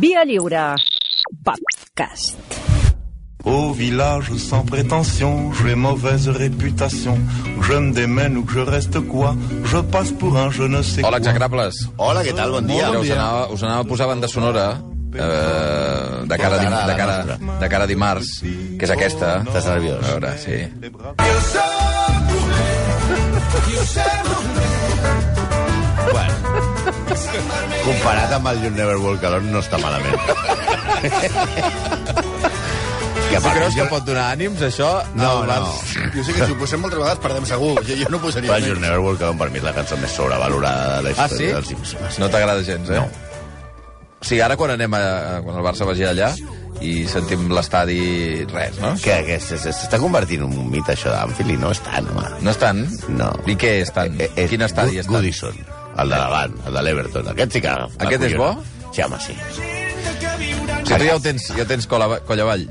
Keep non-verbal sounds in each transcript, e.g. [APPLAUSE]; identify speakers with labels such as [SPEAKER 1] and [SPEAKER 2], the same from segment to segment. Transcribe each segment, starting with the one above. [SPEAKER 1] Via Lliure. Podcast.
[SPEAKER 2] Au village sans prétention, j'ai mauvaise réputation. Que je me démène ou que je reste quoi, je passe pour un je ne sais quoi.
[SPEAKER 3] Hola, execrables.
[SPEAKER 4] Hola, què tal? Bon dia.
[SPEAKER 3] Mira, us anava, us anava a posar banda sonora eh, de, cara a dim- de, cara, de cara a dimarts, que és aquesta.
[SPEAKER 4] Estàs nerviós?
[SPEAKER 3] A veure, sí.
[SPEAKER 4] Bueno. Comparat amb el You Never Walk Alone no està malament. que per mi jo...
[SPEAKER 3] pot donar ànims, això?
[SPEAKER 4] No, no.
[SPEAKER 5] Jo sé que si ho posem moltes vegades perdem segur. Jo, jo no posaria
[SPEAKER 4] El You
[SPEAKER 5] més.
[SPEAKER 4] Never Walk Alone per mi és la cançó més sobrevalorada de
[SPEAKER 3] Ah,
[SPEAKER 4] la història
[SPEAKER 3] sí?
[SPEAKER 4] dels Simpsons.
[SPEAKER 3] No t'agrada gens, eh? No. O sigui, ara quan anem a... quan el Barça vagi allà i sentim l'estadi, res, no?
[SPEAKER 4] Que, que s- s- s'està convertint en un mite, això d'Anfield, i no és tant, home.
[SPEAKER 3] No és tant?
[SPEAKER 4] No.
[SPEAKER 3] I què és tant?
[SPEAKER 4] Eh, eh,
[SPEAKER 3] Mm. Quin estadi
[SPEAKER 4] Good-
[SPEAKER 3] és tant?
[SPEAKER 4] Goodison, el de davant, el de l'Everton. Aquest sí que...
[SPEAKER 3] Aquest és bo?
[SPEAKER 4] Sí, home, sí.
[SPEAKER 3] O sigui, tu ja ho tens, ja ho tens colla, colla avall.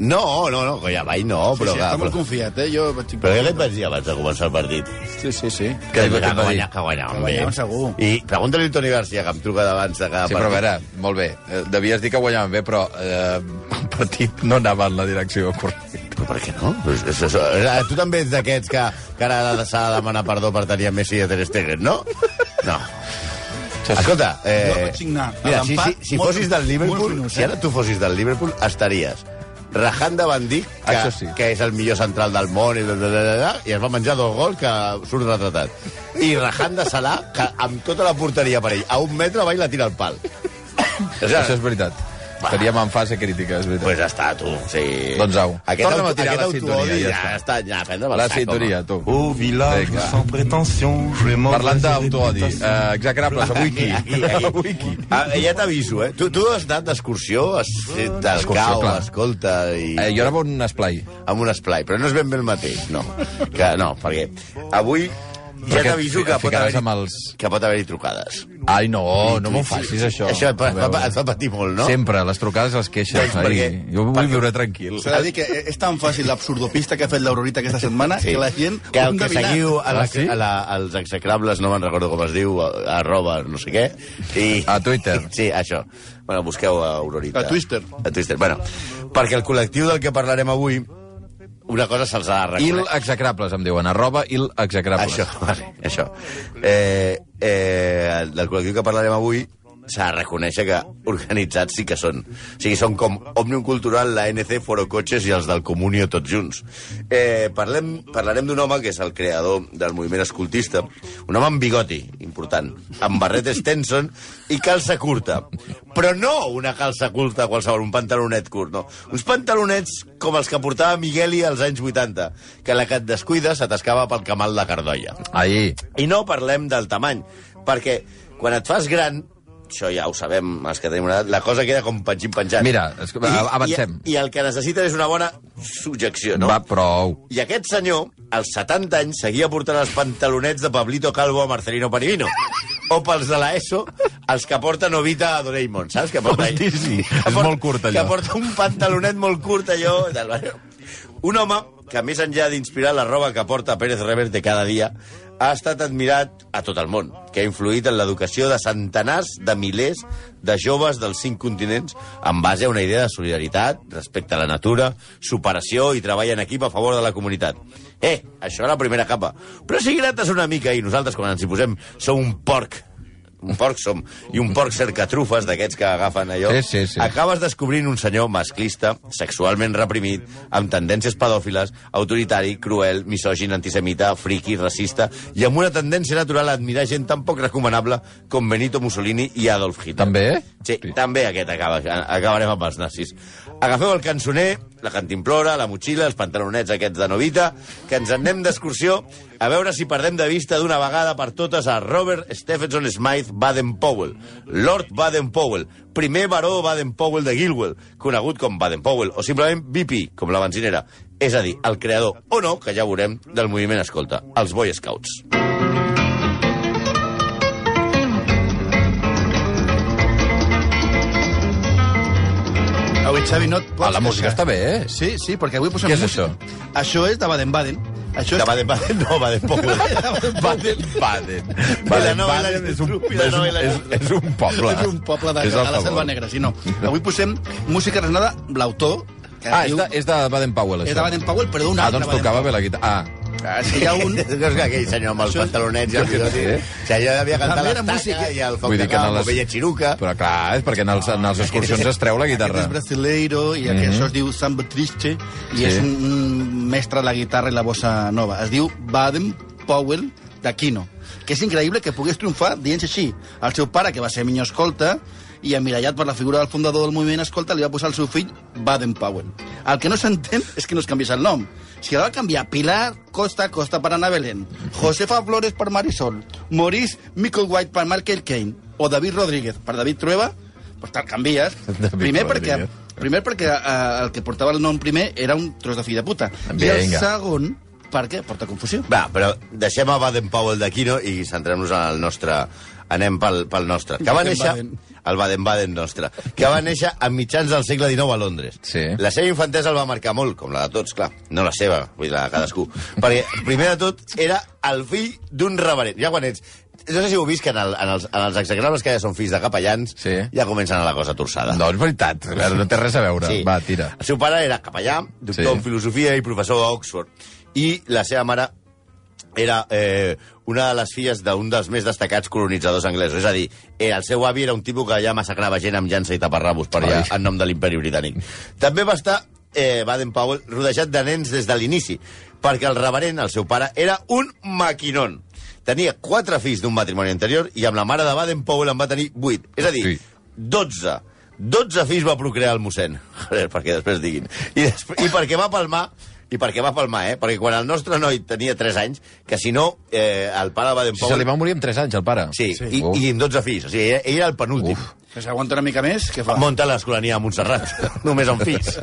[SPEAKER 4] No, no, no, Collaball no,
[SPEAKER 5] Sí,
[SPEAKER 4] però...
[SPEAKER 5] sí,
[SPEAKER 4] clar,
[SPEAKER 5] està molt
[SPEAKER 4] però,
[SPEAKER 5] confiat, eh? Jo vaig...
[SPEAKER 4] però què li vaig dir abans de començar el partit?
[SPEAKER 5] Sí, sí, sí.
[SPEAKER 3] Que, que,
[SPEAKER 4] que
[SPEAKER 3] que,
[SPEAKER 4] guanyar, que guanyàvem bé.
[SPEAKER 5] Guanyàvem segur.
[SPEAKER 4] I pregunta-li a Toni Garcia, que em truca d'abans de cada
[SPEAKER 3] Sí, però a veure, molt bé. Eh, Devies dir que guanyaven bé, però eh, [LAUGHS] el partit no anava en la direcció correcta.
[SPEAKER 4] Però per què no? Pues, és, és, és, eh, tu també ets d'aquests que, que ara ha de- s'ha de demanar perdó per tenir a Messi i a Ter Stegen, no? No. Escolta,
[SPEAKER 5] Jo
[SPEAKER 4] eh,
[SPEAKER 5] vaig signar
[SPEAKER 4] mira,
[SPEAKER 5] l'empat
[SPEAKER 4] si, si, si
[SPEAKER 5] molts-
[SPEAKER 4] fossis del Liverpool,
[SPEAKER 5] molts minuts,
[SPEAKER 3] eh?
[SPEAKER 4] si ara tu fossis del Liverpool, estaries rajant de Bandí, que,
[SPEAKER 3] Això sí.
[SPEAKER 4] que és el millor central del món, i, da, da, da, da, da, i es va menjar dos gols que surt retratat. I rajant de Salah, que amb tota la porteria per ell, a un metre va i la tira al pal. O sigui,
[SPEAKER 3] Això és veritat. Estaríem en fase crítica, és veritat.
[SPEAKER 4] Pues ja està, tu. Sí.
[SPEAKER 3] Doncs au.
[SPEAKER 4] Aquest,
[SPEAKER 3] Torna'm
[SPEAKER 4] auto,
[SPEAKER 3] a tirar
[SPEAKER 4] aquest
[SPEAKER 3] la sintonia,
[SPEAKER 4] autoodi
[SPEAKER 3] ja
[SPEAKER 4] ja, ja està. Ja, prendre
[SPEAKER 3] La sintonia, tu.
[SPEAKER 2] Au village
[SPEAKER 3] Vinga.
[SPEAKER 2] sans prétention, j'ai mauvaise
[SPEAKER 3] Parlant d'autoodi,
[SPEAKER 2] réputation.
[SPEAKER 3] eh, execrables, avui qui?
[SPEAKER 4] [LAUGHS] Aquí, aquí.
[SPEAKER 3] Avui qui?
[SPEAKER 4] Ah, ja t'aviso, eh? Tu, tu has anat d'excursió, has fet el
[SPEAKER 3] Excursió,
[SPEAKER 4] cau,
[SPEAKER 3] clar.
[SPEAKER 4] escolta, i...
[SPEAKER 3] Eh, jo anava a un esplai.
[SPEAKER 4] amb un esplai, però no és ben bé el mateix, no. Que, no, perquè avui ja
[SPEAKER 3] Perquè
[SPEAKER 4] t'aviso que,
[SPEAKER 3] et
[SPEAKER 4] pot
[SPEAKER 3] ficaràs
[SPEAKER 4] haver-hi-
[SPEAKER 3] amb els...
[SPEAKER 4] que pot haver-hi trucades.
[SPEAKER 3] Ai, no, no m'ho facis, això.
[SPEAKER 4] Això et,
[SPEAKER 3] A
[SPEAKER 4] fa,
[SPEAKER 3] veure.
[SPEAKER 4] et fa patir molt, no?
[SPEAKER 3] Sempre, les trucades i les queixes.
[SPEAKER 4] Doncs
[SPEAKER 3] Ai,
[SPEAKER 4] perquè-
[SPEAKER 3] jo vull viure tranquil.
[SPEAKER 5] S'ha de dir que és tan fàcil l'absurdopista que ha fet l'Aurorita aquesta setmana sí. que la gent
[SPEAKER 4] que,
[SPEAKER 5] ho ha
[SPEAKER 4] que
[SPEAKER 5] endevinat.
[SPEAKER 4] seguiu a la,
[SPEAKER 3] Ah, sí?
[SPEAKER 4] a la, als execrables, no me'n recordo com es diu, a- arroba no sé què. I,
[SPEAKER 3] A Twitter.
[SPEAKER 4] [LAUGHS] Sí, això. Bueno, busqueu a Aurorita.
[SPEAKER 5] A Twister.
[SPEAKER 4] A Twister, bueno. Perquè el col·lectiu del que parlarem avui, una cosa se'ls ha de
[SPEAKER 3] Il
[SPEAKER 4] reconèixer.
[SPEAKER 3] execrables, em diuen. Arroba il execrables.
[SPEAKER 4] Això, [LAUGHS] vale, això. Eh, eh, del col·lectiu que parlarem avui s'ha de reconèixer que organitzats sí que són. O sigui, són com Òmnium Cultural, la NC, Foro Cotxes i els del Comunio tots junts. Eh, parlem, parlarem d'un home que és el creador del moviment escoltista, un home amb bigoti, important, amb barret Stenson i calça curta. Però no una calça curta qualsevol, un pantalonet curt, no. Uns pantalonets com els que portava Migueli als anys 80, que la que et descuida s'atascava pel camal de Cardolla.
[SPEAKER 3] Ahir.
[SPEAKER 4] I no parlem del tamany, perquè quan et fas gran, això ja ho sabem, els que tenim una edat, la cosa queda com penjint penjant.
[SPEAKER 3] Mira, es- avancem.
[SPEAKER 4] I, i, I el que necessita és una bona subjecció, no?
[SPEAKER 3] Va, prou.
[SPEAKER 4] I aquest senyor, als 70 anys, seguia portant els pantalonets de Pablito Calvo a Marcelino Panivino. O pels de l'ESO, els que porta Novita a Doraemon, saps? Que porta,
[SPEAKER 3] Hosti, sí.
[SPEAKER 4] que
[SPEAKER 3] És molt curt, allò.
[SPEAKER 4] Que porta un pantalonet molt curt, allò. Del... barrio. Un home que, més enllà d'inspirar la roba que porta Pérez Reverte cada dia, ha estat admirat a tot el món, que ha influït en l'educació de centenars de milers de joves dels cinc continents en base a una idea de solidaritat, respecte a la natura, superació i treball en equip a favor de la comunitat. Eh, això era la primera capa. Però si grates una mica i nosaltres, quan ens hi posem, som un porc un porc som, i un porc cercatrufes d'aquests que agafen allò,
[SPEAKER 3] Sí, sí, sí.
[SPEAKER 4] acabes descobrint un senyor masclista, sexualment reprimit, amb tendències pedòfiles, autoritari, cruel, misògin, antisemita, friqui, racista, i amb una tendència natural a admirar gent tan poc recomanable com Benito Mussolini i Adolf Hitler.
[SPEAKER 3] També?
[SPEAKER 4] Sí,
[SPEAKER 3] Sí.
[SPEAKER 4] també aquest acaba, acabarem amb els nazis. Agafeu el cançoner, la cantimplora, la motxilla, els pantalonets aquests de Novita, que ens en anem d'excursió a veure si perdem de vista d'una vegada per totes a Robert Stephenson Smythe Baden-Powell, Lord Baden-Powell, primer baró Baden-Powell de Gilwell, conegut com Baden-Powell, o simplement BP, com la benzinera. És a dir, el creador, o no, que ja ho veurem, del moviment Escolta, els Boy Scouts.
[SPEAKER 5] Avui, Xavi, no et pots
[SPEAKER 3] Ah, la música està
[SPEAKER 5] queixar.
[SPEAKER 3] bé, eh?
[SPEAKER 5] Sí, sí, perquè avui posem
[SPEAKER 3] Què és
[SPEAKER 5] música. Això és de Baden-Baden. Això
[SPEAKER 4] De
[SPEAKER 5] és...
[SPEAKER 4] Baden-Baden, no, [LAUGHS] Baden-Powell. Baden-Baden. Baden-Baden és un, és, un, és, és un poble.
[SPEAKER 5] És un poble de,
[SPEAKER 3] És el
[SPEAKER 5] a la
[SPEAKER 3] favor.
[SPEAKER 5] Selva Negra, sí, no. Avui posem música relacionada amb l'autor, que
[SPEAKER 3] Ah,
[SPEAKER 5] es
[SPEAKER 3] és
[SPEAKER 5] diu...
[SPEAKER 3] de, és de Baden Powell, això.
[SPEAKER 5] És de Baden Powell, però d'un
[SPEAKER 3] Ah,
[SPEAKER 5] altre
[SPEAKER 3] doncs tocava bé la guitarra. Ah,
[SPEAKER 5] Powell. Ah, és que hi ha
[SPEAKER 4] [LAUGHS]
[SPEAKER 5] un...
[SPEAKER 4] És que aquell senyor amb els
[SPEAKER 5] Això és-
[SPEAKER 4] pantalonets i el
[SPEAKER 3] Jo què
[SPEAKER 4] bigoti.
[SPEAKER 3] sé.
[SPEAKER 4] O sigui, allò devia cantar
[SPEAKER 5] També era
[SPEAKER 4] l'estaca
[SPEAKER 5] música.
[SPEAKER 4] i el foc
[SPEAKER 3] Vull
[SPEAKER 4] de
[SPEAKER 3] dir que
[SPEAKER 4] camp,
[SPEAKER 3] no
[SPEAKER 4] o
[SPEAKER 3] les-
[SPEAKER 4] vella xiruca.
[SPEAKER 3] però clar, és perquè en els, en els excursions es treu la guitarra.
[SPEAKER 5] Ah. Aquest és brasileiro i mm -hmm. això es diu Samba Triste i
[SPEAKER 3] Sí.
[SPEAKER 5] sí. és un, un mestre de la guitarra i la bossa nova. Es diu Baden Powell d'Aquino, que és increïble que pogués triomfar dient així. El seu pare, que va ser minyó escolta, i emmirallat per la figura del fundador del moviment escolta, li va posar el seu fill Baden Powell. El que no s'entén és que no es canviés el nom. Si la va canviar Pilar Costa Costa per Ana Belén, Josefa Flores per Marisol, Maurice Micklewhite per Michael Caine o David Rodríguez per David Trueba, pues te'l canvies.
[SPEAKER 3] David
[SPEAKER 5] primer, perquè,
[SPEAKER 3] Rodríguez.
[SPEAKER 5] primer perquè eh, el que portava el nom primer era un tros de fill de puta. I el
[SPEAKER 3] Vinga.
[SPEAKER 5] segon, perquè porta confusió.
[SPEAKER 4] Va, però deixem a Baden-Powell d'aquí, no? I centrem-nos en el nostre... Anem pel, pel nostre. Que va néixer...
[SPEAKER 5] Baden-Baden.
[SPEAKER 4] El Baden-Baden nostre. Que va néixer a mitjans del segle XIX a Londres.
[SPEAKER 3] Sí.
[SPEAKER 4] La seva infantesa el va marcar molt, com la de tots, clar. No la seva, vull dir, la de cadascú. Perquè, primer de tot, era el fill d'un reverend. Ja quan ets... No sé si heu vist que en, el, en els, en els exagrables que ja són fills de capellans
[SPEAKER 3] Sí.
[SPEAKER 4] ja comencen a la cosa torçada.
[SPEAKER 3] No, és veritat. A veure, No té res a veure.
[SPEAKER 4] Sí.
[SPEAKER 3] Va, tira.
[SPEAKER 4] El seu pare era capellà,
[SPEAKER 3] Sí.
[SPEAKER 4] doctor sí. en filosofia i professor a Oxford. I la seva mare era eh, una de les filles d'un dels més destacats colonitzadors anglesos. És a dir, eh, el seu avi era un tipus que allà massacrava gent amb llança i taparrabos per allà,
[SPEAKER 3] Ai.
[SPEAKER 4] en nom de l'imperi britànic. També va estar eh, Baden-Powell rodejat de nens des de l'inici, perquè el reverend, el seu pare, era un maquinón. Tenia quatre fills d'un matrimoni anterior i amb la mare de Baden-Powell en va tenir vuit. És a dir,
[SPEAKER 3] Ui.
[SPEAKER 4] 12. 12 fills va procrear el mossèn. [LAUGHS] Joder, perquè després diguin. I, després, I perquè va palmar i perquè va palmar, eh? Perquè quan el nostre noi tenia 3 anys, que si no, eh, el pare va
[SPEAKER 3] Si se li
[SPEAKER 4] d'empobre...
[SPEAKER 3] va morir amb 3 anys, el pare.
[SPEAKER 4] Sí, sí. I,
[SPEAKER 3] Uf.
[SPEAKER 4] i amb 12 fills. O sigui, ell, ell era el penúltim. Uf.
[SPEAKER 5] Que s'aguanta una mica més, què fa?
[SPEAKER 4] Monta l'escolania a Montserrat, [LAUGHS] només amb fills.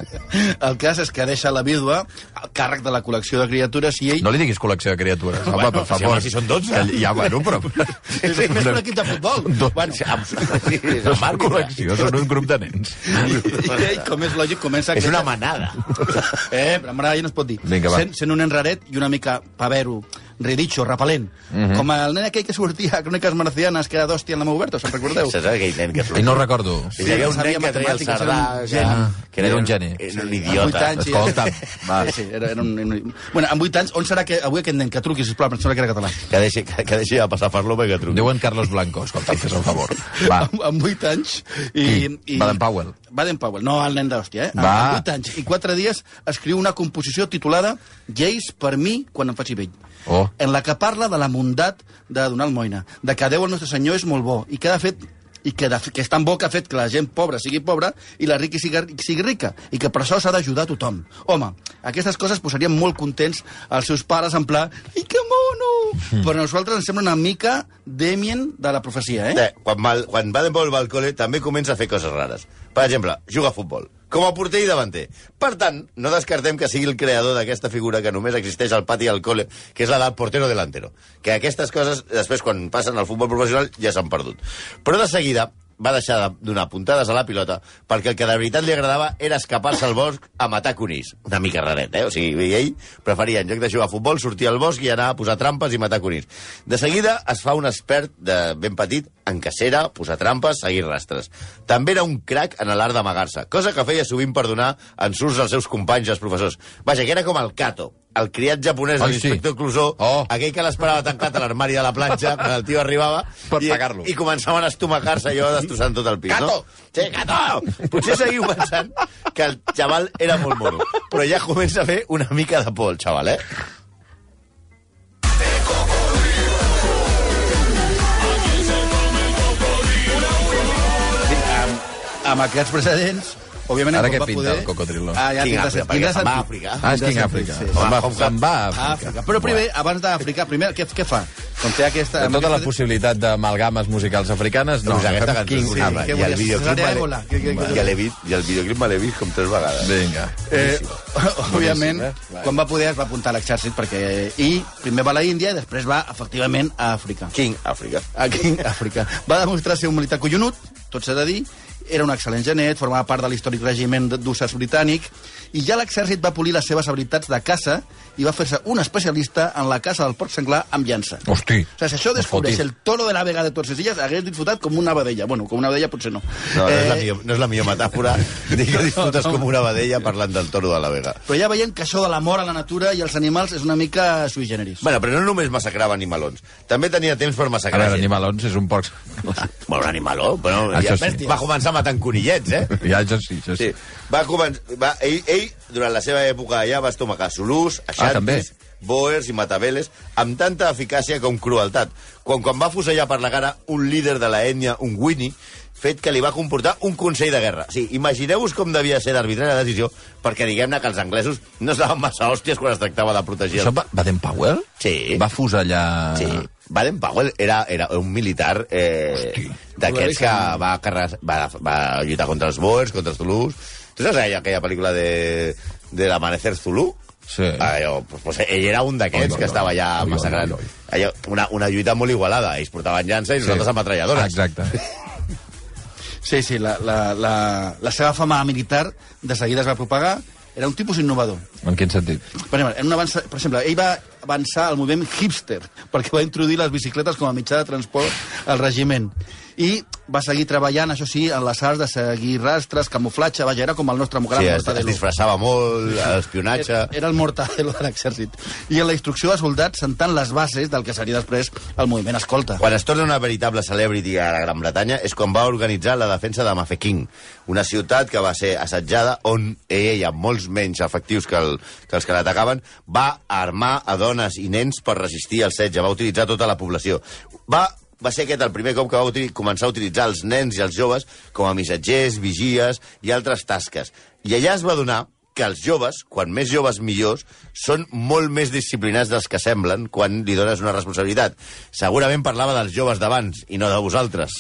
[SPEAKER 5] El cas és que deixa la vídua al càrrec de la col·lecció de criatures i ell...
[SPEAKER 3] No li diguis col·lecció de criatures, home, bueno, per
[SPEAKER 4] si,
[SPEAKER 3] favor.
[SPEAKER 4] home, si són 12.
[SPEAKER 3] Que- Ja, bueno, però...
[SPEAKER 5] Sí, sí, més que un equip de futbol.
[SPEAKER 3] Do-
[SPEAKER 5] Bueno,
[SPEAKER 4] Sí, és
[SPEAKER 3] No
[SPEAKER 4] el
[SPEAKER 3] són
[SPEAKER 4] màrquing.
[SPEAKER 3] col·lecció, són un grup de nens.
[SPEAKER 5] i ell, com és lògic, comença...
[SPEAKER 4] És una
[SPEAKER 5] aquesta-
[SPEAKER 4] manada.
[SPEAKER 5] Eh, però mare, ja no es pot dir.
[SPEAKER 3] Vinga, va.
[SPEAKER 5] sent, sent un nen raret i una mica pavero, ridicho, repel·lent.
[SPEAKER 3] Mhm.
[SPEAKER 5] Com el nen aquell que sortia a Cròniques Marcianes, que era d'hòstia en la mà oberta, se'n recordeu?
[SPEAKER 4] Saps aquell nen que...
[SPEAKER 3] I no recordo.
[SPEAKER 4] Sí, hi havia un
[SPEAKER 5] sabia
[SPEAKER 4] nen que treia el
[SPEAKER 5] matemàtiques,
[SPEAKER 4] Sardà...
[SPEAKER 5] era un
[SPEAKER 4] que-
[SPEAKER 3] geni.
[SPEAKER 4] que
[SPEAKER 3] Era un geni.
[SPEAKER 4] Era un
[SPEAKER 5] Amb
[SPEAKER 4] idiota.
[SPEAKER 5] vuit anys,
[SPEAKER 3] Escolta'm, va.
[SPEAKER 5] Sí, sí, era, era un, un... Bueno, amb 8 anys, on serà que... Avui aquest nen que truqui, sisplau, em sembla que era català.
[SPEAKER 4] Que deixi, que, que deixi de passar farlopa i que truqui.
[SPEAKER 3] Diuen Carlos Blanco, escolta'm, fes un favor. Va,
[SPEAKER 5] [LAUGHS] Amb, amb 8 anys... I,
[SPEAKER 3] Qui? Baden Powell.
[SPEAKER 5] Baden Powell, no el nen d'hòstia, eh? Amb-
[SPEAKER 3] Va.
[SPEAKER 5] Amb 8 anys i 4 dies escriu una composició titulada Lleis per mi quan em faci vell.
[SPEAKER 3] Oh.
[SPEAKER 5] En la que parla de la mundat de donar almoina, de que Déu el nostre Senyor és molt bo i que de fet i que, de, que és tan bo que ha fet que la gent pobra sigui pobra i la rica sigui, sigui rica, i que per això s'ha d'ajudar a tothom. Home, aquestes coses posarien molt contents els seus pares en pla i que mono!
[SPEAKER 3] Hmm.
[SPEAKER 5] Però a nosaltres ens sembla una mica Damien de la profecia, eh?
[SPEAKER 4] Eh, quan, mal, quan Baden-Powell va al col·le també comença a fer coses rares. Per exemple, juga a futbol, com a porter i davanter. Per tant, no descartem que sigui el creador d'aquesta figura que només existeix al pati al col·le, que és la del portero delantero. Que aquestes coses, després, quan passen al futbol professional, ja s'han perdut. Però de seguida va deixar de donar puntades a la pilota perquè el que de veritat li agradava era escapar-se al bosc a matar conills. Una mica raret, eh? O sigui, ell preferia, en lloc de jugar a futbol, sortir al bosc i anar a posar trampes i matar conills. De seguida es fa un expert de ben petit en cacera, posar trampes, seguir rastres. També era un crac en l'art d'amagar-se, cosa que feia sovint per donar ensurts als seus companys i als professors. Vaja, que era com el Kato, el criat japonès de
[SPEAKER 3] Ai, sí.
[SPEAKER 4] l'inspector Clouseau,
[SPEAKER 3] Oh.
[SPEAKER 4] aquell que l'esperava tancat a l'armari de la platja quan el tio arribava
[SPEAKER 3] Per
[SPEAKER 4] i,
[SPEAKER 3] pagar-lo.
[SPEAKER 4] i començaven a estomacar-se allò destrossant tot el pis,
[SPEAKER 3] Gato!
[SPEAKER 4] no? Sí, gato! Potser seguiu pensant que el xaval era molt mono, però ja comença a fer una mica de por el xaval, eh?
[SPEAKER 5] Amb aquests precedents, òbviament...
[SPEAKER 3] Ara
[SPEAKER 5] en
[SPEAKER 3] què
[SPEAKER 5] Bob va
[SPEAKER 3] pinta el cocodrilo?
[SPEAKER 5] Ah, ja
[SPEAKER 4] King
[SPEAKER 5] tindrà,
[SPEAKER 4] Africa,
[SPEAKER 5] sentit,
[SPEAKER 4] perquè
[SPEAKER 5] tindrà
[SPEAKER 4] se'n va a
[SPEAKER 5] sentit.
[SPEAKER 4] Àfrica.
[SPEAKER 3] Ah, és King
[SPEAKER 5] Tindrà
[SPEAKER 3] Àfrica.
[SPEAKER 5] sentit,
[SPEAKER 3] Se'n va,
[SPEAKER 4] Home,
[SPEAKER 3] se'n va a
[SPEAKER 5] A
[SPEAKER 3] Àfrica.
[SPEAKER 5] Àfrica. Però primer, abans d'Àfrica, primer, què, què fa? Com té aquesta...
[SPEAKER 3] De tota la
[SPEAKER 5] aquesta-
[SPEAKER 3] possibilitat d'amalgames musicals africanes, no.
[SPEAKER 4] Doncs aquesta
[SPEAKER 3] fem
[SPEAKER 4] cançó és
[SPEAKER 3] King
[SPEAKER 4] bonica.
[SPEAKER 3] Africa.
[SPEAKER 5] que
[SPEAKER 4] I el
[SPEAKER 5] volia-
[SPEAKER 4] videoclip
[SPEAKER 5] Cesarea
[SPEAKER 4] me l'he-
[SPEAKER 5] Ébola. Que- que- que-
[SPEAKER 4] ja l'he vist, i el videoclip me l'he vist com tres vegades.
[SPEAKER 3] Vinga.
[SPEAKER 5] Eh, [LAUGHS]
[SPEAKER 3] Boníssim,
[SPEAKER 5] òbviament,
[SPEAKER 3] eh?
[SPEAKER 5] quan va poder es va apuntar a l'exèrcit perquè... I primer va a la Índia i després va, efectivament, a Àfrica.
[SPEAKER 4] King Àfrica.
[SPEAKER 5] [LAUGHS] Aquí, a Àfrica. Va demostrar ser un militar collonut, tot s'ha de dir, Era un excel·lent genet, formava part de l'històric regiment d'Ussas britànic, i ja l'exèrcit va polir les seves habilitats de caça i va fer-se un especialista en la caça del porc senglar amb llança.
[SPEAKER 3] Hosti.
[SPEAKER 5] O sigui, si això descobreix el toro de la vega de Tordesillas, hagués disfrutat com una vedella. Bueno, com una vedella potser no. Eh,
[SPEAKER 4] No, no,
[SPEAKER 3] Eh,
[SPEAKER 4] és la millor, no és la millor metàfora.
[SPEAKER 3] [LAUGHS]
[SPEAKER 4] Dic que disfrutes com una vedella parlant del toro de la vega.
[SPEAKER 5] Però ja veiem que això de l'amor a la natura i als animals és una mica sui generis.
[SPEAKER 4] Bueno, però no només massacrava animalons. També tenia temps per
[SPEAKER 3] A
[SPEAKER 4] massacrar
[SPEAKER 3] veure,
[SPEAKER 4] gent. Ah,
[SPEAKER 3] Animalons és un porc...
[SPEAKER 4] Bueno, un animaló, però...
[SPEAKER 3] Això
[SPEAKER 4] Ja,
[SPEAKER 3] sí.
[SPEAKER 4] bèstia. Va començar matant conillets, eh?
[SPEAKER 3] Ja, això sí, això sí.
[SPEAKER 4] Sí. Va començar... Va, ell, ell, durant la seva època allà, va estomacar Zulús, Aixantis,
[SPEAKER 3] també.
[SPEAKER 4] ah, Boers i Matabeles, amb tanta eficàcia com crueltat. Quan, quan va fusellar per la cara un líder de la ètnia, un Winnie, fet que li va comportar un consell de guerra. Sí, imagineu-vos com devia ser d'arbitrar la decisió, perquè diguem-ne que els anglesos no estaven massa hòsties quan es tractava de protegir
[SPEAKER 3] Això
[SPEAKER 4] el
[SPEAKER 3] va, Baden Powell?
[SPEAKER 4] Sí.
[SPEAKER 3] Va fusellar...
[SPEAKER 4] Sí. Baden Ah. Powell era, era un militar eh, d'aquests que va, carregar, va, va lluitar contra els Boers, contra els Zulus. Tu saps aquella, aquella pel·lícula de, de l'Amanecer Zulu? Ah,
[SPEAKER 3] Sí.
[SPEAKER 4] Allò, pues, pues, ell era un
[SPEAKER 3] Oi,
[SPEAKER 4] d'aquests
[SPEAKER 3] oi,
[SPEAKER 4] que
[SPEAKER 3] oi.
[SPEAKER 4] estava allà
[SPEAKER 3] Oi, oi,
[SPEAKER 4] massacrant.
[SPEAKER 3] oi, oi.
[SPEAKER 4] Allò, una, una lluita molt igualada. Ells portaven llança i nosaltres sí. ametralladores.
[SPEAKER 3] Exacte.
[SPEAKER 5] Sí, sí, la, la, la, la seva fama militar de seguida es va propagar. Era un tipus innovador.
[SPEAKER 3] En quin sentit?
[SPEAKER 5] Per exemple, en una avança, per exemple, ell va avançar el moviment hipster, perquè va introduir les bicicletes com a mitjà de transport al regiment. I va seguir treballant, això sí, en les arts de seguir rastres, camuflatge, vaja, era com el nostre gran
[SPEAKER 4] Sí,
[SPEAKER 5] sí,
[SPEAKER 4] es, es
[SPEAKER 5] mortadelo.
[SPEAKER 4] disfressava molt, l'espionatge...
[SPEAKER 5] [LAUGHS] Era, era el mortadelo de l'exèrcit. I en la instrucció de soldats sentant les bases del que seria després el moviment escolta.
[SPEAKER 4] Quan es torna una veritable celebrity a la Gran Bretanya és quan va organitzar la defensa de Mafeking, una ciutat que va ser assetjada on ell, amb molts menys efectius que, el, que els que l'atacaven, va armar a dones i nens per resistir el setge, va utilitzar tota la població. Va va ser aquest el primer cop que va uti- començar a utilitzar els nens i els joves com a missatgers, vigies i altres tasques. I allà es va donar que els joves, quan més joves millors, són molt més disciplinats dels que semblen quan li dones una responsabilitat. Segurament parlava dels joves d'abans i no de [LAUGHS] vosaltres.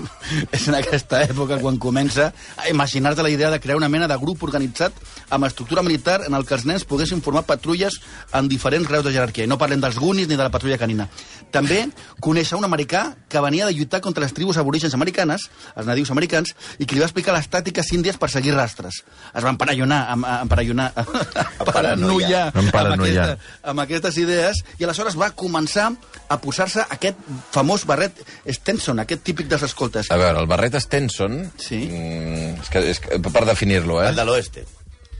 [SPEAKER 5] [LAUGHS] és en aquesta època quan comença a imaginar-te la idea de crear una mena de grup organitzat amb estructura militar en el que els nens poguessin formar patrulles en diferents graus de jerarquia. I no parlem dels gunis ni de la patrulla canina. També conèixer un americà que venia de lluitar contra les tribus aborígens americanes, els nadius americans, i que li va explicar les tàctiques índies per seguir rastres. Es van paranoiar, em, em [LAUGHS] paranoiar,
[SPEAKER 4] Emparanoiar.
[SPEAKER 5] paranoiar eh, amb,
[SPEAKER 3] Emparanoiar.
[SPEAKER 5] aquesta, amb aquestes idees i aleshores va començar a posar-se aquest famós barret Stenson, aquest típic dels escoltes.
[SPEAKER 3] A veure, el barret Stenson...
[SPEAKER 5] Sí.
[SPEAKER 3] Mm, és que, és que, per definir-lo, eh?
[SPEAKER 4] El de l'oeste.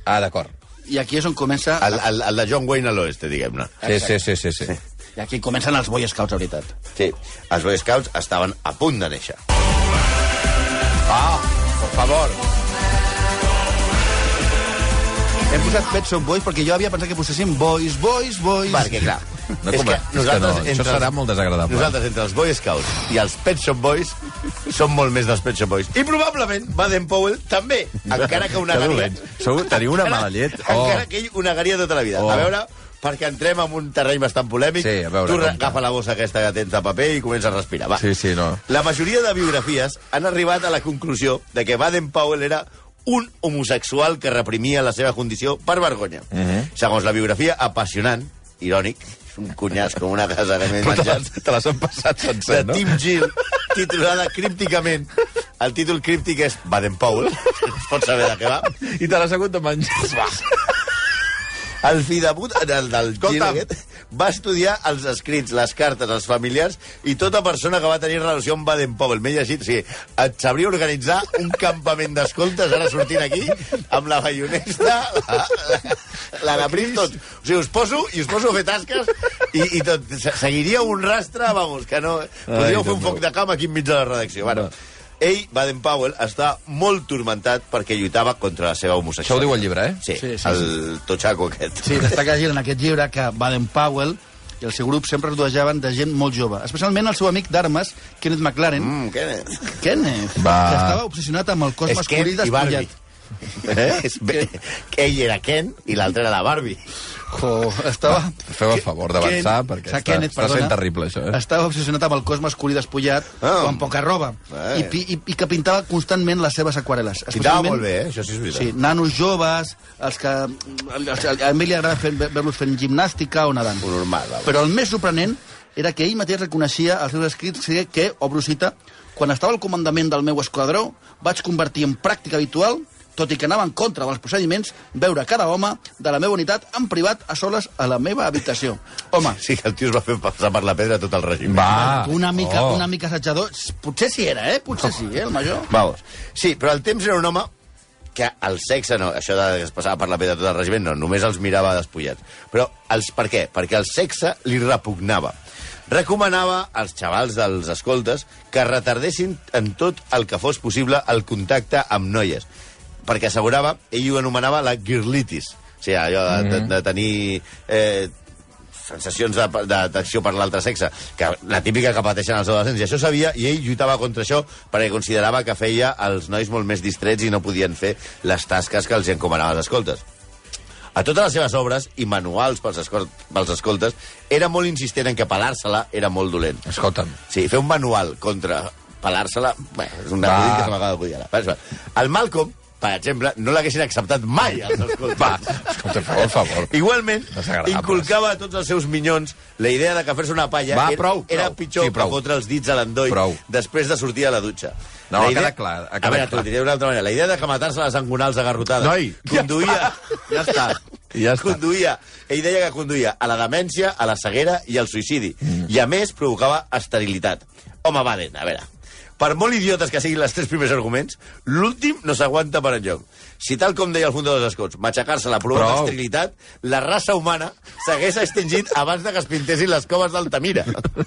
[SPEAKER 3] Ah, d'acord.
[SPEAKER 5] I aquí és on comença...
[SPEAKER 3] Ah.
[SPEAKER 4] El, el, el de John Wayne a l'oeste, diguem-ne.
[SPEAKER 3] Sí, sí, sí, sí, sí.
[SPEAKER 5] I aquí comencen els Boy Scouts, de veritat.
[SPEAKER 4] Sí, els Boy Scouts estaven a punt de néixer. Ah, por favor.
[SPEAKER 5] Hem posat Pet Shop Boys perquè jo havia pensat que posessin Boys, Boys, Boys...
[SPEAKER 4] Perquè, [LAUGHS] clar,
[SPEAKER 3] No, com, és que no, això serà molt desagradable.
[SPEAKER 4] Nosaltres, entre els Boy Scouts i els Pet Shop Boys, som molt més dels Pet Shop Boys. I probablement Baden Powell
[SPEAKER 3] [LAUGHS]
[SPEAKER 4] també, encara que una
[SPEAKER 3] Que
[SPEAKER 4] garia...
[SPEAKER 3] dolents. Sou- eh? teniu una mala llet. Oh.
[SPEAKER 4] [LAUGHS] Encara que ell una garia tota la vida.
[SPEAKER 3] Oh.
[SPEAKER 4] A veure, perquè entrem en un terreny bastant polèmic,
[SPEAKER 3] Sí, a veure,
[SPEAKER 4] tu
[SPEAKER 3] compte.
[SPEAKER 4] agafa la bossa aquesta que tens de paper i comença a respirar. Va.
[SPEAKER 3] Sí, sí, no.
[SPEAKER 4] La majoria de biografies han arribat a la conclusió de que Baden Powell era un homosexual que reprimia la seva condició per vergonya. Uh -huh.
[SPEAKER 3] Mhm.
[SPEAKER 4] Segons la biografia apassionant, irònic, és un cunyàs com una casa que m'he
[SPEAKER 3] Però te
[SPEAKER 4] menjat,
[SPEAKER 3] [LAUGHS] l'has- te l'has empassat sencer,
[SPEAKER 4] de
[SPEAKER 3] no?
[SPEAKER 4] Tim Gill, titulada crípticament. El títol críptic és Baden Powell, [LAUGHS] es pot saber de què va.
[SPEAKER 3] I te l'has hagut de menjar.
[SPEAKER 4] [LAUGHS] El fill de put, el del Gil
[SPEAKER 3] Escolta'm.
[SPEAKER 4] aquest, va estudiar els escrits, les cartes, els familiars i tota persona que va tenir relació amb Baden Powell. M'he llegit, sí, et sabria organitzar un campament d'escoltes ara sortint aquí amb la baionesta, la, la, la de Prim, tot. O sigui, us poso i us poso a fer tasques i, i tot. Se- Seguiríeu un rastre, vamos, que no... Podríeu fer
[SPEAKER 3] Déu
[SPEAKER 4] un foc de camp aquí enmig de la redacció. Bueno, ell, Baden Powell, està molt tormentat perquè lluitava contra la seva
[SPEAKER 3] Això ho
[SPEAKER 4] homosexualitat.
[SPEAKER 3] diu el llibre, eh?
[SPEAKER 4] Sí,
[SPEAKER 5] Sí,
[SPEAKER 4] sí,
[SPEAKER 5] sí,
[SPEAKER 4] sí el totxaco aquest.
[SPEAKER 5] Sí, destaca gent en aquest llibre que Baden Powell i el seu grup sempre rodejaven de gent molt jove, especialment el seu amic d'armes, Kenneth McLaren, mm.
[SPEAKER 4] Mm, què
[SPEAKER 5] Kenneth,
[SPEAKER 3] Va.
[SPEAKER 5] que estava obsessionat amb el cos
[SPEAKER 4] és? Ken
[SPEAKER 5] masculí
[SPEAKER 4] i Barbie.
[SPEAKER 5] despullat.
[SPEAKER 4] Eh? És bé. Ell era Ken i l'altre era la Barbie.
[SPEAKER 5] Jo, estava...
[SPEAKER 3] Feu el favor d'avançar,
[SPEAKER 5] Ken-
[SPEAKER 3] perquè
[SPEAKER 5] Sa-
[SPEAKER 3] està,
[SPEAKER 5] Kenneth,
[SPEAKER 3] està sent
[SPEAKER 5] perdona,
[SPEAKER 3] terrible, això, eh? Oh.
[SPEAKER 5] Estava obsessionat amb el cos masculí despullat,
[SPEAKER 4] Ah.
[SPEAKER 5] o amb poca roba,
[SPEAKER 4] Eh.
[SPEAKER 5] i, pi- i, i que pintava constantment les seves aquarel·les.
[SPEAKER 4] Pintava
[SPEAKER 5] especialment-
[SPEAKER 4] molt bé, eh? això sí és veritat.
[SPEAKER 5] Sí, nanos joves, els que... Els, a mi li agrada fer- veure-los fent gimnàstica o nadant.
[SPEAKER 4] Ho normal, va.
[SPEAKER 5] Però el més sorprenent era que ell mateix reconeixia als seus escrits que, que obro cita, Quan estava al comandament del meu esquadró, vaig convertir en pràctica habitual, tot i que anava en contra dels procediments, veure cada home de la meva unitat en privat a soles a la meva habitació. Home,
[SPEAKER 4] Sí que el tio es va fer passar per la pedra tot el règim.
[SPEAKER 3] Va.
[SPEAKER 5] una mica,
[SPEAKER 3] oh.
[SPEAKER 5] una mica assetjador... Potser sí era, eh? Potser sí, eh, el major?
[SPEAKER 4] Vamos. Sí, però al temps era un home que el sexe, no, això de que es passava per la pedra tot el regiment, no, només els mirava despullats. Però els, per què? Perquè el sexe li repugnava. Recomanava als xavals dels escoltes que retardessin en tot el que fos possible el contacte amb noies, perquè assegurava, ell ho anomenava la girlitis, o sigui, allò de, de, de tenir eh, sensacions de- de- d'atracció per l'altre sexe, que la típica que pateixen els adolescents. I això sabia, i ell lluitava contra això perquè considerava que feia els nois molt més distrets i no podien fer les tasques que els hi encomanaven els escoltes. A totes les seves obres i manuals pels, escol pels escoltes, era molt insistent en que pelar-se-la era molt dolent.
[SPEAKER 3] Escolta'm.
[SPEAKER 4] Sí, fer un manual contra pelar-se-la... Bé, és una
[SPEAKER 3] Va.
[SPEAKER 4] cosa que se m'acaba d'acudir ara. Va, és va. El Malcolm, per exemple, no l'haguessin acceptat mai els escoltes.
[SPEAKER 3] Escolta, per favor.
[SPEAKER 4] Igualment,
[SPEAKER 3] Desagradables.
[SPEAKER 4] inculcava a tots els seus minyons la idea de que fer-se una palla
[SPEAKER 3] Va,
[SPEAKER 4] era,
[SPEAKER 3] prou,
[SPEAKER 4] era
[SPEAKER 3] prou.
[SPEAKER 4] pitjor
[SPEAKER 3] Sí,
[SPEAKER 4] que
[SPEAKER 3] prou.
[SPEAKER 4] fotre els dits a l'endoll
[SPEAKER 3] Prou.
[SPEAKER 4] després de sortir a la dutxa.
[SPEAKER 3] No,
[SPEAKER 4] La
[SPEAKER 3] ha quedat clar, ha
[SPEAKER 4] a
[SPEAKER 3] quedat
[SPEAKER 4] veure, t'ho
[SPEAKER 3] clar.
[SPEAKER 4] diré d'una altra manera. La idea de que matar-se a les angonals agarrotades...
[SPEAKER 3] Noi, ja
[SPEAKER 4] conduïa... Ja està.
[SPEAKER 3] Ja està.
[SPEAKER 4] Conduïa, ell deia que conduïa a la demència, a la ceguera i al suïcidi. Mm. I, a més, provocava esterilitat. Home, Baden, a veure... Per molt idiotes que siguin les tres primers arguments, l'últim no s'aguanta per enlloc. Si tal com deia el fundador dels escots, matxacar-se la provoca
[SPEAKER 3] Prou.
[SPEAKER 4] esterilitat, la raça humana s'hagués extingit abans de que es pintessin les coves d'Altamira.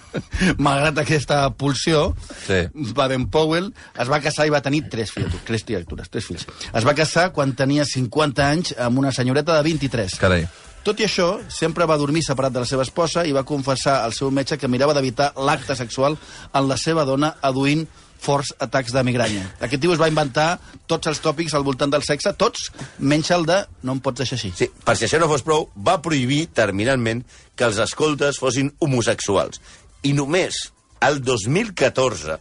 [SPEAKER 5] [LAUGHS] malgrat aquesta pulsió,
[SPEAKER 3] Sí.
[SPEAKER 5] sí. Baden Powell es va casar i va tenir tres fills, tres criatures, tres fills. Es va casar quan tenia 50 anys amb una senyoreta de 23.
[SPEAKER 3] Carai.
[SPEAKER 5] Tot i això, sempre va dormir separat de la seva esposa i va confessar al seu metge que mirava d'evitar l'acte sexual en la seva dona aduint forts atacs de migranya. Aquest tio es va inventar tots els tòpics al voltant del sexe, tots, menys el de no em pots deixar així.
[SPEAKER 4] Sí, per si això no fos prou, va prohibir terminalment que els escoltes fossin homosexuals. I només el 2014,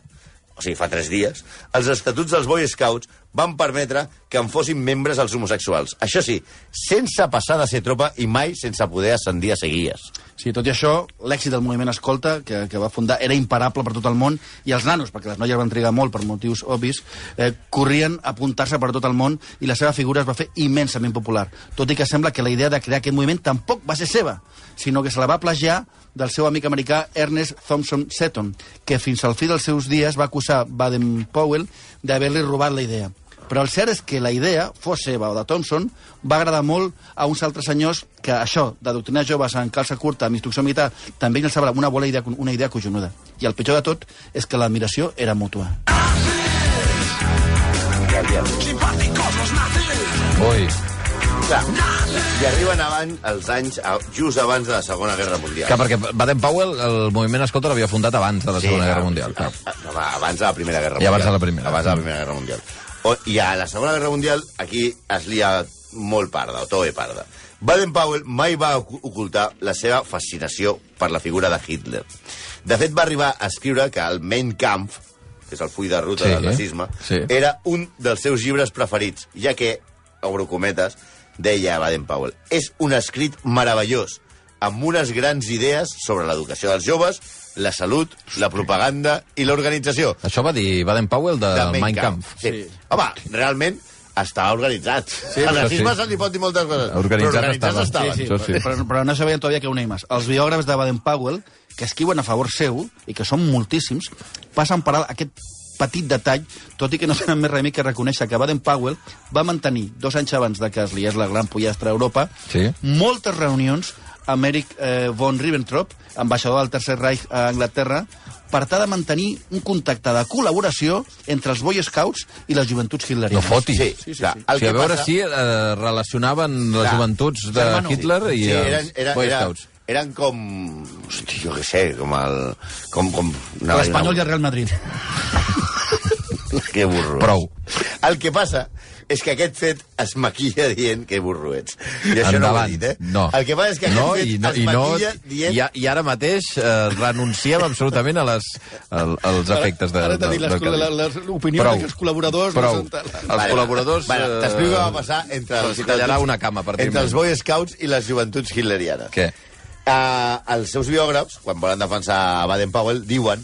[SPEAKER 4] o sigui, fa tres dies, els estatuts dels Boy Scouts van permetre que en fossin membres els homosexuals. Això sí, sense passar de ser tropa i mai sense poder ascendir a seguies.
[SPEAKER 5] Sí, tot i això, l'èxit del moviment escolta que, que va fundar era imparable per tot el món i els nanos, perquè les noies van trigar molt per motius obvis, eh, corrien a apuntar-se per tot el món i la seva figura es va fer immensament popular. Tot i que sembla que la idea de crear aquest moviment tampoc va ser seva, sinó que se la va plagiar del seu amic americà Ernest Thompson Seton, que fins al fi dels seus dies va acusar Baden-Powell d'haver-li robat la idea. Però el cert és que la idea, fos seva o de Thompson, va agradar molt a uns altres senyors que això, d'adoctrinar joves en calça curta amb instrucció militar, també els semblava una bona idea, una idea cojonuda. I el pitjor de tot és que l'admiració era mútua.
[SPEAKER 3] Ui.
[SPEAKER 4] Clar, i arriben abans, els anys, a- just abans de la Segona Guerra Mundial.
[SPEAKER 3] Clar, perquè Baden-Powell, el moviment escolta l'havia fundat abans de la Segona
[SPEAKER 4] ah,
[SPEAKER 3] Guerra Mundial. Clar.
[SPEAKER 4] No, va, abans de la Primera Guerra
[SPEAKER 3] I
[SPEAKER 4] Mundial.
[SPEAKER 3] abans de la Primera. Mm.
[SPEAKER 4] Abans de la Primera Guerra Mundial. O, I a la Segona Guerra Mundial, aquí es lia molt parda, o toe parda. Baden-Powell mai va ocu- ocultar la seva fascinació per la figura de Hitler. De fet, va arribar a escriure que el Mein Kampf, que és el full de ruta
[SPEAKER 3] Sí,
[SPEAKER 4] del nazisme,
[SPEAKER 3] sí.
[SPEAKER 4] era un dels seus llibres preferits, ja que, obro cometes, deia Baden-Powell, és un escrit meravellós, amb unes grans idees sobre l'educació dels joves, la salut, la propaganda i l'organització.
[SPEAKER 3] Això va dir Baden-Powell de,
[SPEAKER 4] De
[SPEAKER 3] del Mein Kampf.
[SPEAKER 4] Sí. sí. Home, realment, estava organitzat. Sí,
[SPEAKER 3] això
[SPEAKER 4] Al nazisme
[SPEAKER 3] sí.
[SPEAKER 4] se li pot dir moltes coses,
[SPEAKER 3] Organitzat
[SPEAKER 4] però organitzats
[SPEAKER 3] estava.
[SPEAKER 4] estaven.
[SPEAKER 3] Sí, sí. Això
[SPEAKER 5] Però, però no sabien todavía que una i més. Els biògrafs de Baden-Powell, que escriuen a favor seu, i que són moltíssims, passen per alt aquest petit detall, tot i que no tenen més remei que reconèixer que Baden-Powell va mantenir, dos anys abans de que es liés la gran pollastra a Europa,
[SPEAKER 3] Sí.
[SPEAKER 5] moltes reunions amb Eric eh, von Ribbentrop, ambaixador del Tercer Reich a Anglaterra, per tal de mantenir un contacte de col·laboració entre els Boy Scouts i les joventuts hitlerianes.
[SPEAKER 3] No fotis.
[SPEAKER 4] Sí, sí, sí. Clar, el
[SPEAKER 3] sí, a
[SPEAKER 4] que
[SPEAKER 3] veure
[SPEAKER 4] passa-
[SPEAKER 3] si eh, relacionaven les
[SPEAKER 4] Clar.
[SPEAKER 3] joventuts de
[SPEAKER 5] Germano.
[SPEAKER 3] Hitler i
[SPEAKER 4] sí,
[SPEAKER 3] els
[SPEAKER 4] eren, era,
[SPEAKER 3] Boy
[SPEAKER 4] era,
[SPEAKER 3] Scouts.
[SPEAKER 4] eren com... Hosti, jo què sé, com el... Com, com... no,
[SPEAKER 5] L'Espanyol i el Real Madrid.
[SPEAKER 4] Que burro.
[SPEAKER 3] Prou.
[SPEAKER 4] El que passa és que aquest fet es maquilla dient que burro ets. I això no ho he
[SPEAKER 3] Endavant.
[SPEAKER 4] dit, eh?
[SPEAKER 3] No.
[SPEAKER 4] El que passa és que aquest
[SPEAKER 3] no,
[SPEAKER 4] fet
[SPEAKER 3] i no,
[SPEAKER 4] es
[SPEAKER 3] i no,
[SPEAKER 4] maquilla dient...
[SPEAKER 3] i, a- I ara mateix eh, renunciem absolutament a les, al, als efectes de...
[SPEAKER 5] Ara t'ha
[SPEAKER 3] de-
[SPEAKER 5] dit les
[SPEAKER 3] del que
[SPEAKER 5] col-
[SPEAKER 3] ha dit.
[SPEAKER 5] la- les- l'opinió
[SPEAKER 3] Prou.
[SPEAKER 5] de que els col·laboradors no
[SPEAKER 3] Prou.
[SPEAKER 5] són tal.
[SPEAKER 3] Els col·laboradors...
[SPEAKER 4] Vale,
[SPEAKER 3] eh,
[SPEAKER 4] T'explico què va passar entre
[SPEAKER 3] se'ls
[SPEAKER 4] els,
[SPEAKER 3] tallarà una cama per
[SPEAKER 4] entre
[SPEAKER 3] dir-me.
[SPEAKER 4] els Boy Scouts i les joventuts hitlerianes.
[SPEAKER 3] Què?
[SPEAKER 4] Eh, Uh, els seus biògrafs, quan volen defensar a Baden-Powell, diuen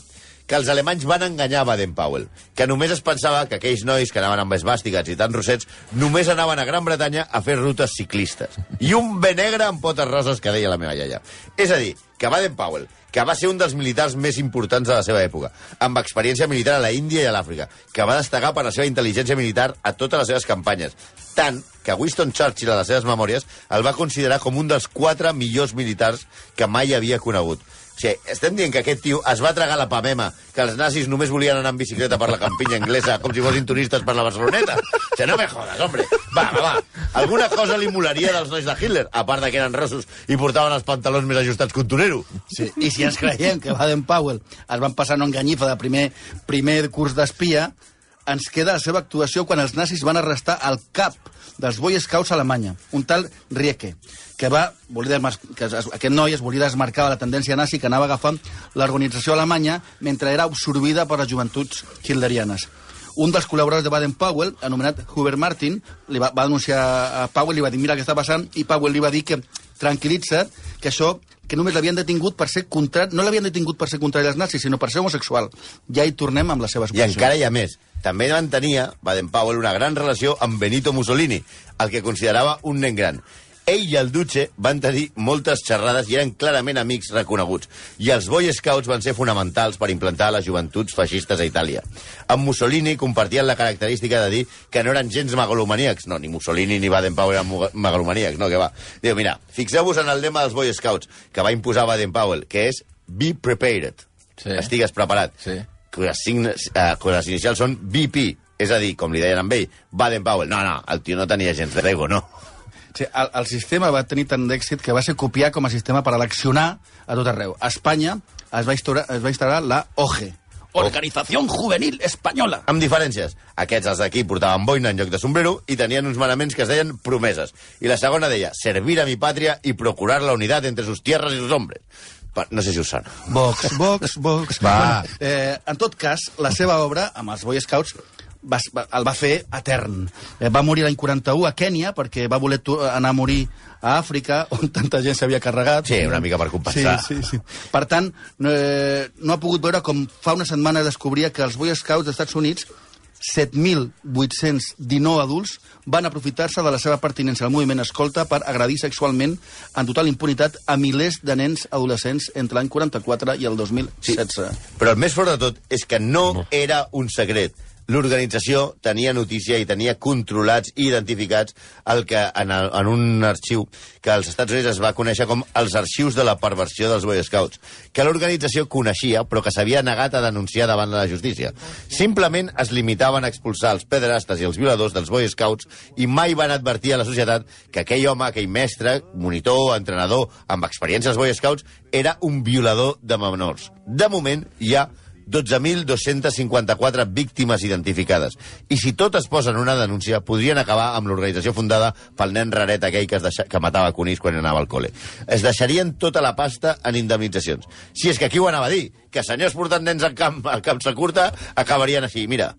[SPEAKER 4] que els alemanys van enganyar Baden Powell, que només es pensava que aquells nois que anaven amb esbàstigats i tan rossets només anaven a Gran Bretanya a fer rutes ciclistes. I un bé negre amb potes roses que deia la meva iaia. És a dir, que Baden Powell, que va ser un dels militars més importants de la seva època, amb experiència militar a la Índia i a l'Àfrica, que va destacar per la seva intel·ligència militar a totes les seves campanyes, tant que Winston Churchill, a les seves memòries, el va considerar com un dels quatre millors militars que mai havia conegut. O sigui, estem dient que aquest tio es va tragar la pamema, que els nazis només volien anar en bicicleta per la campinya anglesa, com si fossin turistes per la Barceloneta. O sigui, no me jodas, hombre. Va, va, va. Alguna cosa li molaria dels nois de Hitler, a part de que eren rossos i portaven els pantalons més ajustats que un torero.
[SPEAKER 5] Sí. I si ens creiem que Baden Powell es van passar en enganyifa de primer, primer curs d'espia, ens queda la seva actuació quan els nazis van arrestar el cap dels Boy Scouts a Alemanya, un tal Rieke, que va voler desmar- que es, es- aquest noi es volia desmarcar de la tendència nazi que anava agafant l'organització alemanya mentre era absorbida per les joventuts hitlerianes. Un dels col·laboradors de Baden-Powell, anomenat Hubert Martin, li va, va denunciar a Powell, li va dir, mira què està passant, i Powell li va dir que tranquil·litza't, que això que només l'havien detingut per ser contrari... No l'havien detingut per ser contrari als nazis, sinó per ser homosexual. Ja hi tornem amb les seves
[SPEAKER 4] I encara hi ha més. També mantenia Baden-Powell una gran relació amb Benito Mussolini, el que considerava un nen gran. Ell i el Duce van tenir moltes xerrades i eren clarament amics reconeguts. I els Boy Scouts van ser fonamentals per implantar les joventuts feixistes a Itàlia. Amb Mussolini compartien la característica de dir que no eren gens megalomaníacs. No, ni Mussolini ni Baden-Powell eren mo- megalomaníacs, no, que va. Diu, mira, fixeu-vos en el lema dels Boy Scouts que va imposar Baden-Powell, que és Be Prepared.
[SPEAKER 3] Sí.
[SPEAKER 4] Sí. Estigues preparat
[SPEAKER 3] Sí.
[SPEAKER 4] que les, signes, eh, que les inicials són BP, és a dir, com li deien amb ell, Baden-Powell. No, no, el tio no tenia gens d'ego, no.
[SPEAKER 5] Sí, el, el sistema va tenir tant d'èxit que va ser copiar com a sistema per eleccionar a tot arreu. A Espanya es va, instaurar, es va instaurar la OGE, Organización Juvenil Española.
[SPEAKER 4] Amb diferències. Aquests, els d'aquí, portaven boina en lloc de sombrero i tenien uns manaments que es deien promeses. I la segona deia, servir a mi pàtria i procurar la unitat entre sus tierras i sus hombres. Per, no sé si us sona.
[SPEAKER 5] Vox, Vox, Vox.
[SPEAKER 3] Va.
[SPEAKER 5] Bueno, eh, en tot cas, la seva obra, amb els Boy Scouts, va, va, el va fer etern. Eh, va morir l'any 41 a Kènia perquè va voler tu- anar a morir a Àfrica, on tanta gent s'havia carregat.
[SPEAKER 4] Sí, una mica per compensar.
[SPEAKER 5] Sí, sí, sí. Per tant, no, eh, no ha pogut veure com fa una setmana descobria que els Boy Scouts dels Estats Units 7.819 adults van aprofitar-se de la seva pertinença al moviment escolta per agredir sexualment en total impunitat a milers de nens adolescents entre l'any 44 i el 2016. Sí.
[SPEAKER 4] Però el més fort de tot és que no era un secret. L'organització tenia notícia i tenia controlats i identificats el que en, el, en un arxiu que als Estats Units es va conèixer com els arxius de la perversió dels Boy Scouts, que l'organització coneixia però que s'havia negat a denunciar davant de la justícia. Simplement es limitaven a expulsar els pederastes i els violadors dels Boy Scouts i mai van advertir a la societat que aquell home, aquell mestre, monitor, entrenador, amb experiències Boy Scouts, era un violador de menors. De moment, hi ha 12.254 víctimes identificades. I si totes posen una denúncia, podrien acabar amb l'organització fundada pel nen raret aquell que, es deixa, que matava conills quan anava al col·le. Es deixarien tota la pasta en indemnitzacions. Si és que aquí ho anava a dir, que senyors portant nens al camp, al camp se curta, acabarien així. Mira,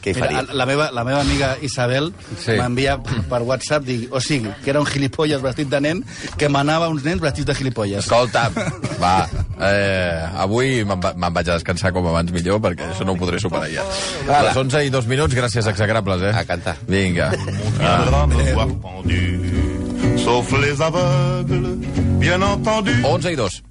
[SPEAKER 4] què hi
[SPEAKER 5] Mira,
[SPEAKER 4] faria?
[SPEAKER 5] la, meva, la meva amiga Isabel
[SPEAKER 3] Sí.
[SPEAKER 5] sí. m'envia per- per WhatsApp, digui, o sigui, que era un gilipolles vestit de nen que manava uns nens vestits de gilipolles.
[SPEAKER 3] Escolta'm, va, eh, avui me'n va- me'n vaig a descansar com abans millor, perquè això no ho podré superar ja. A les 11 i 2 minuts, gràcies, exagrables, eh?
[SPEAKER 4] A cantar.
[SPEAKER 3] Vinga.
[SPEAKER 2] viendra me voir pendu, sauf les aveugles, bien entendu.
[SPEAKER 3] 11 i 2.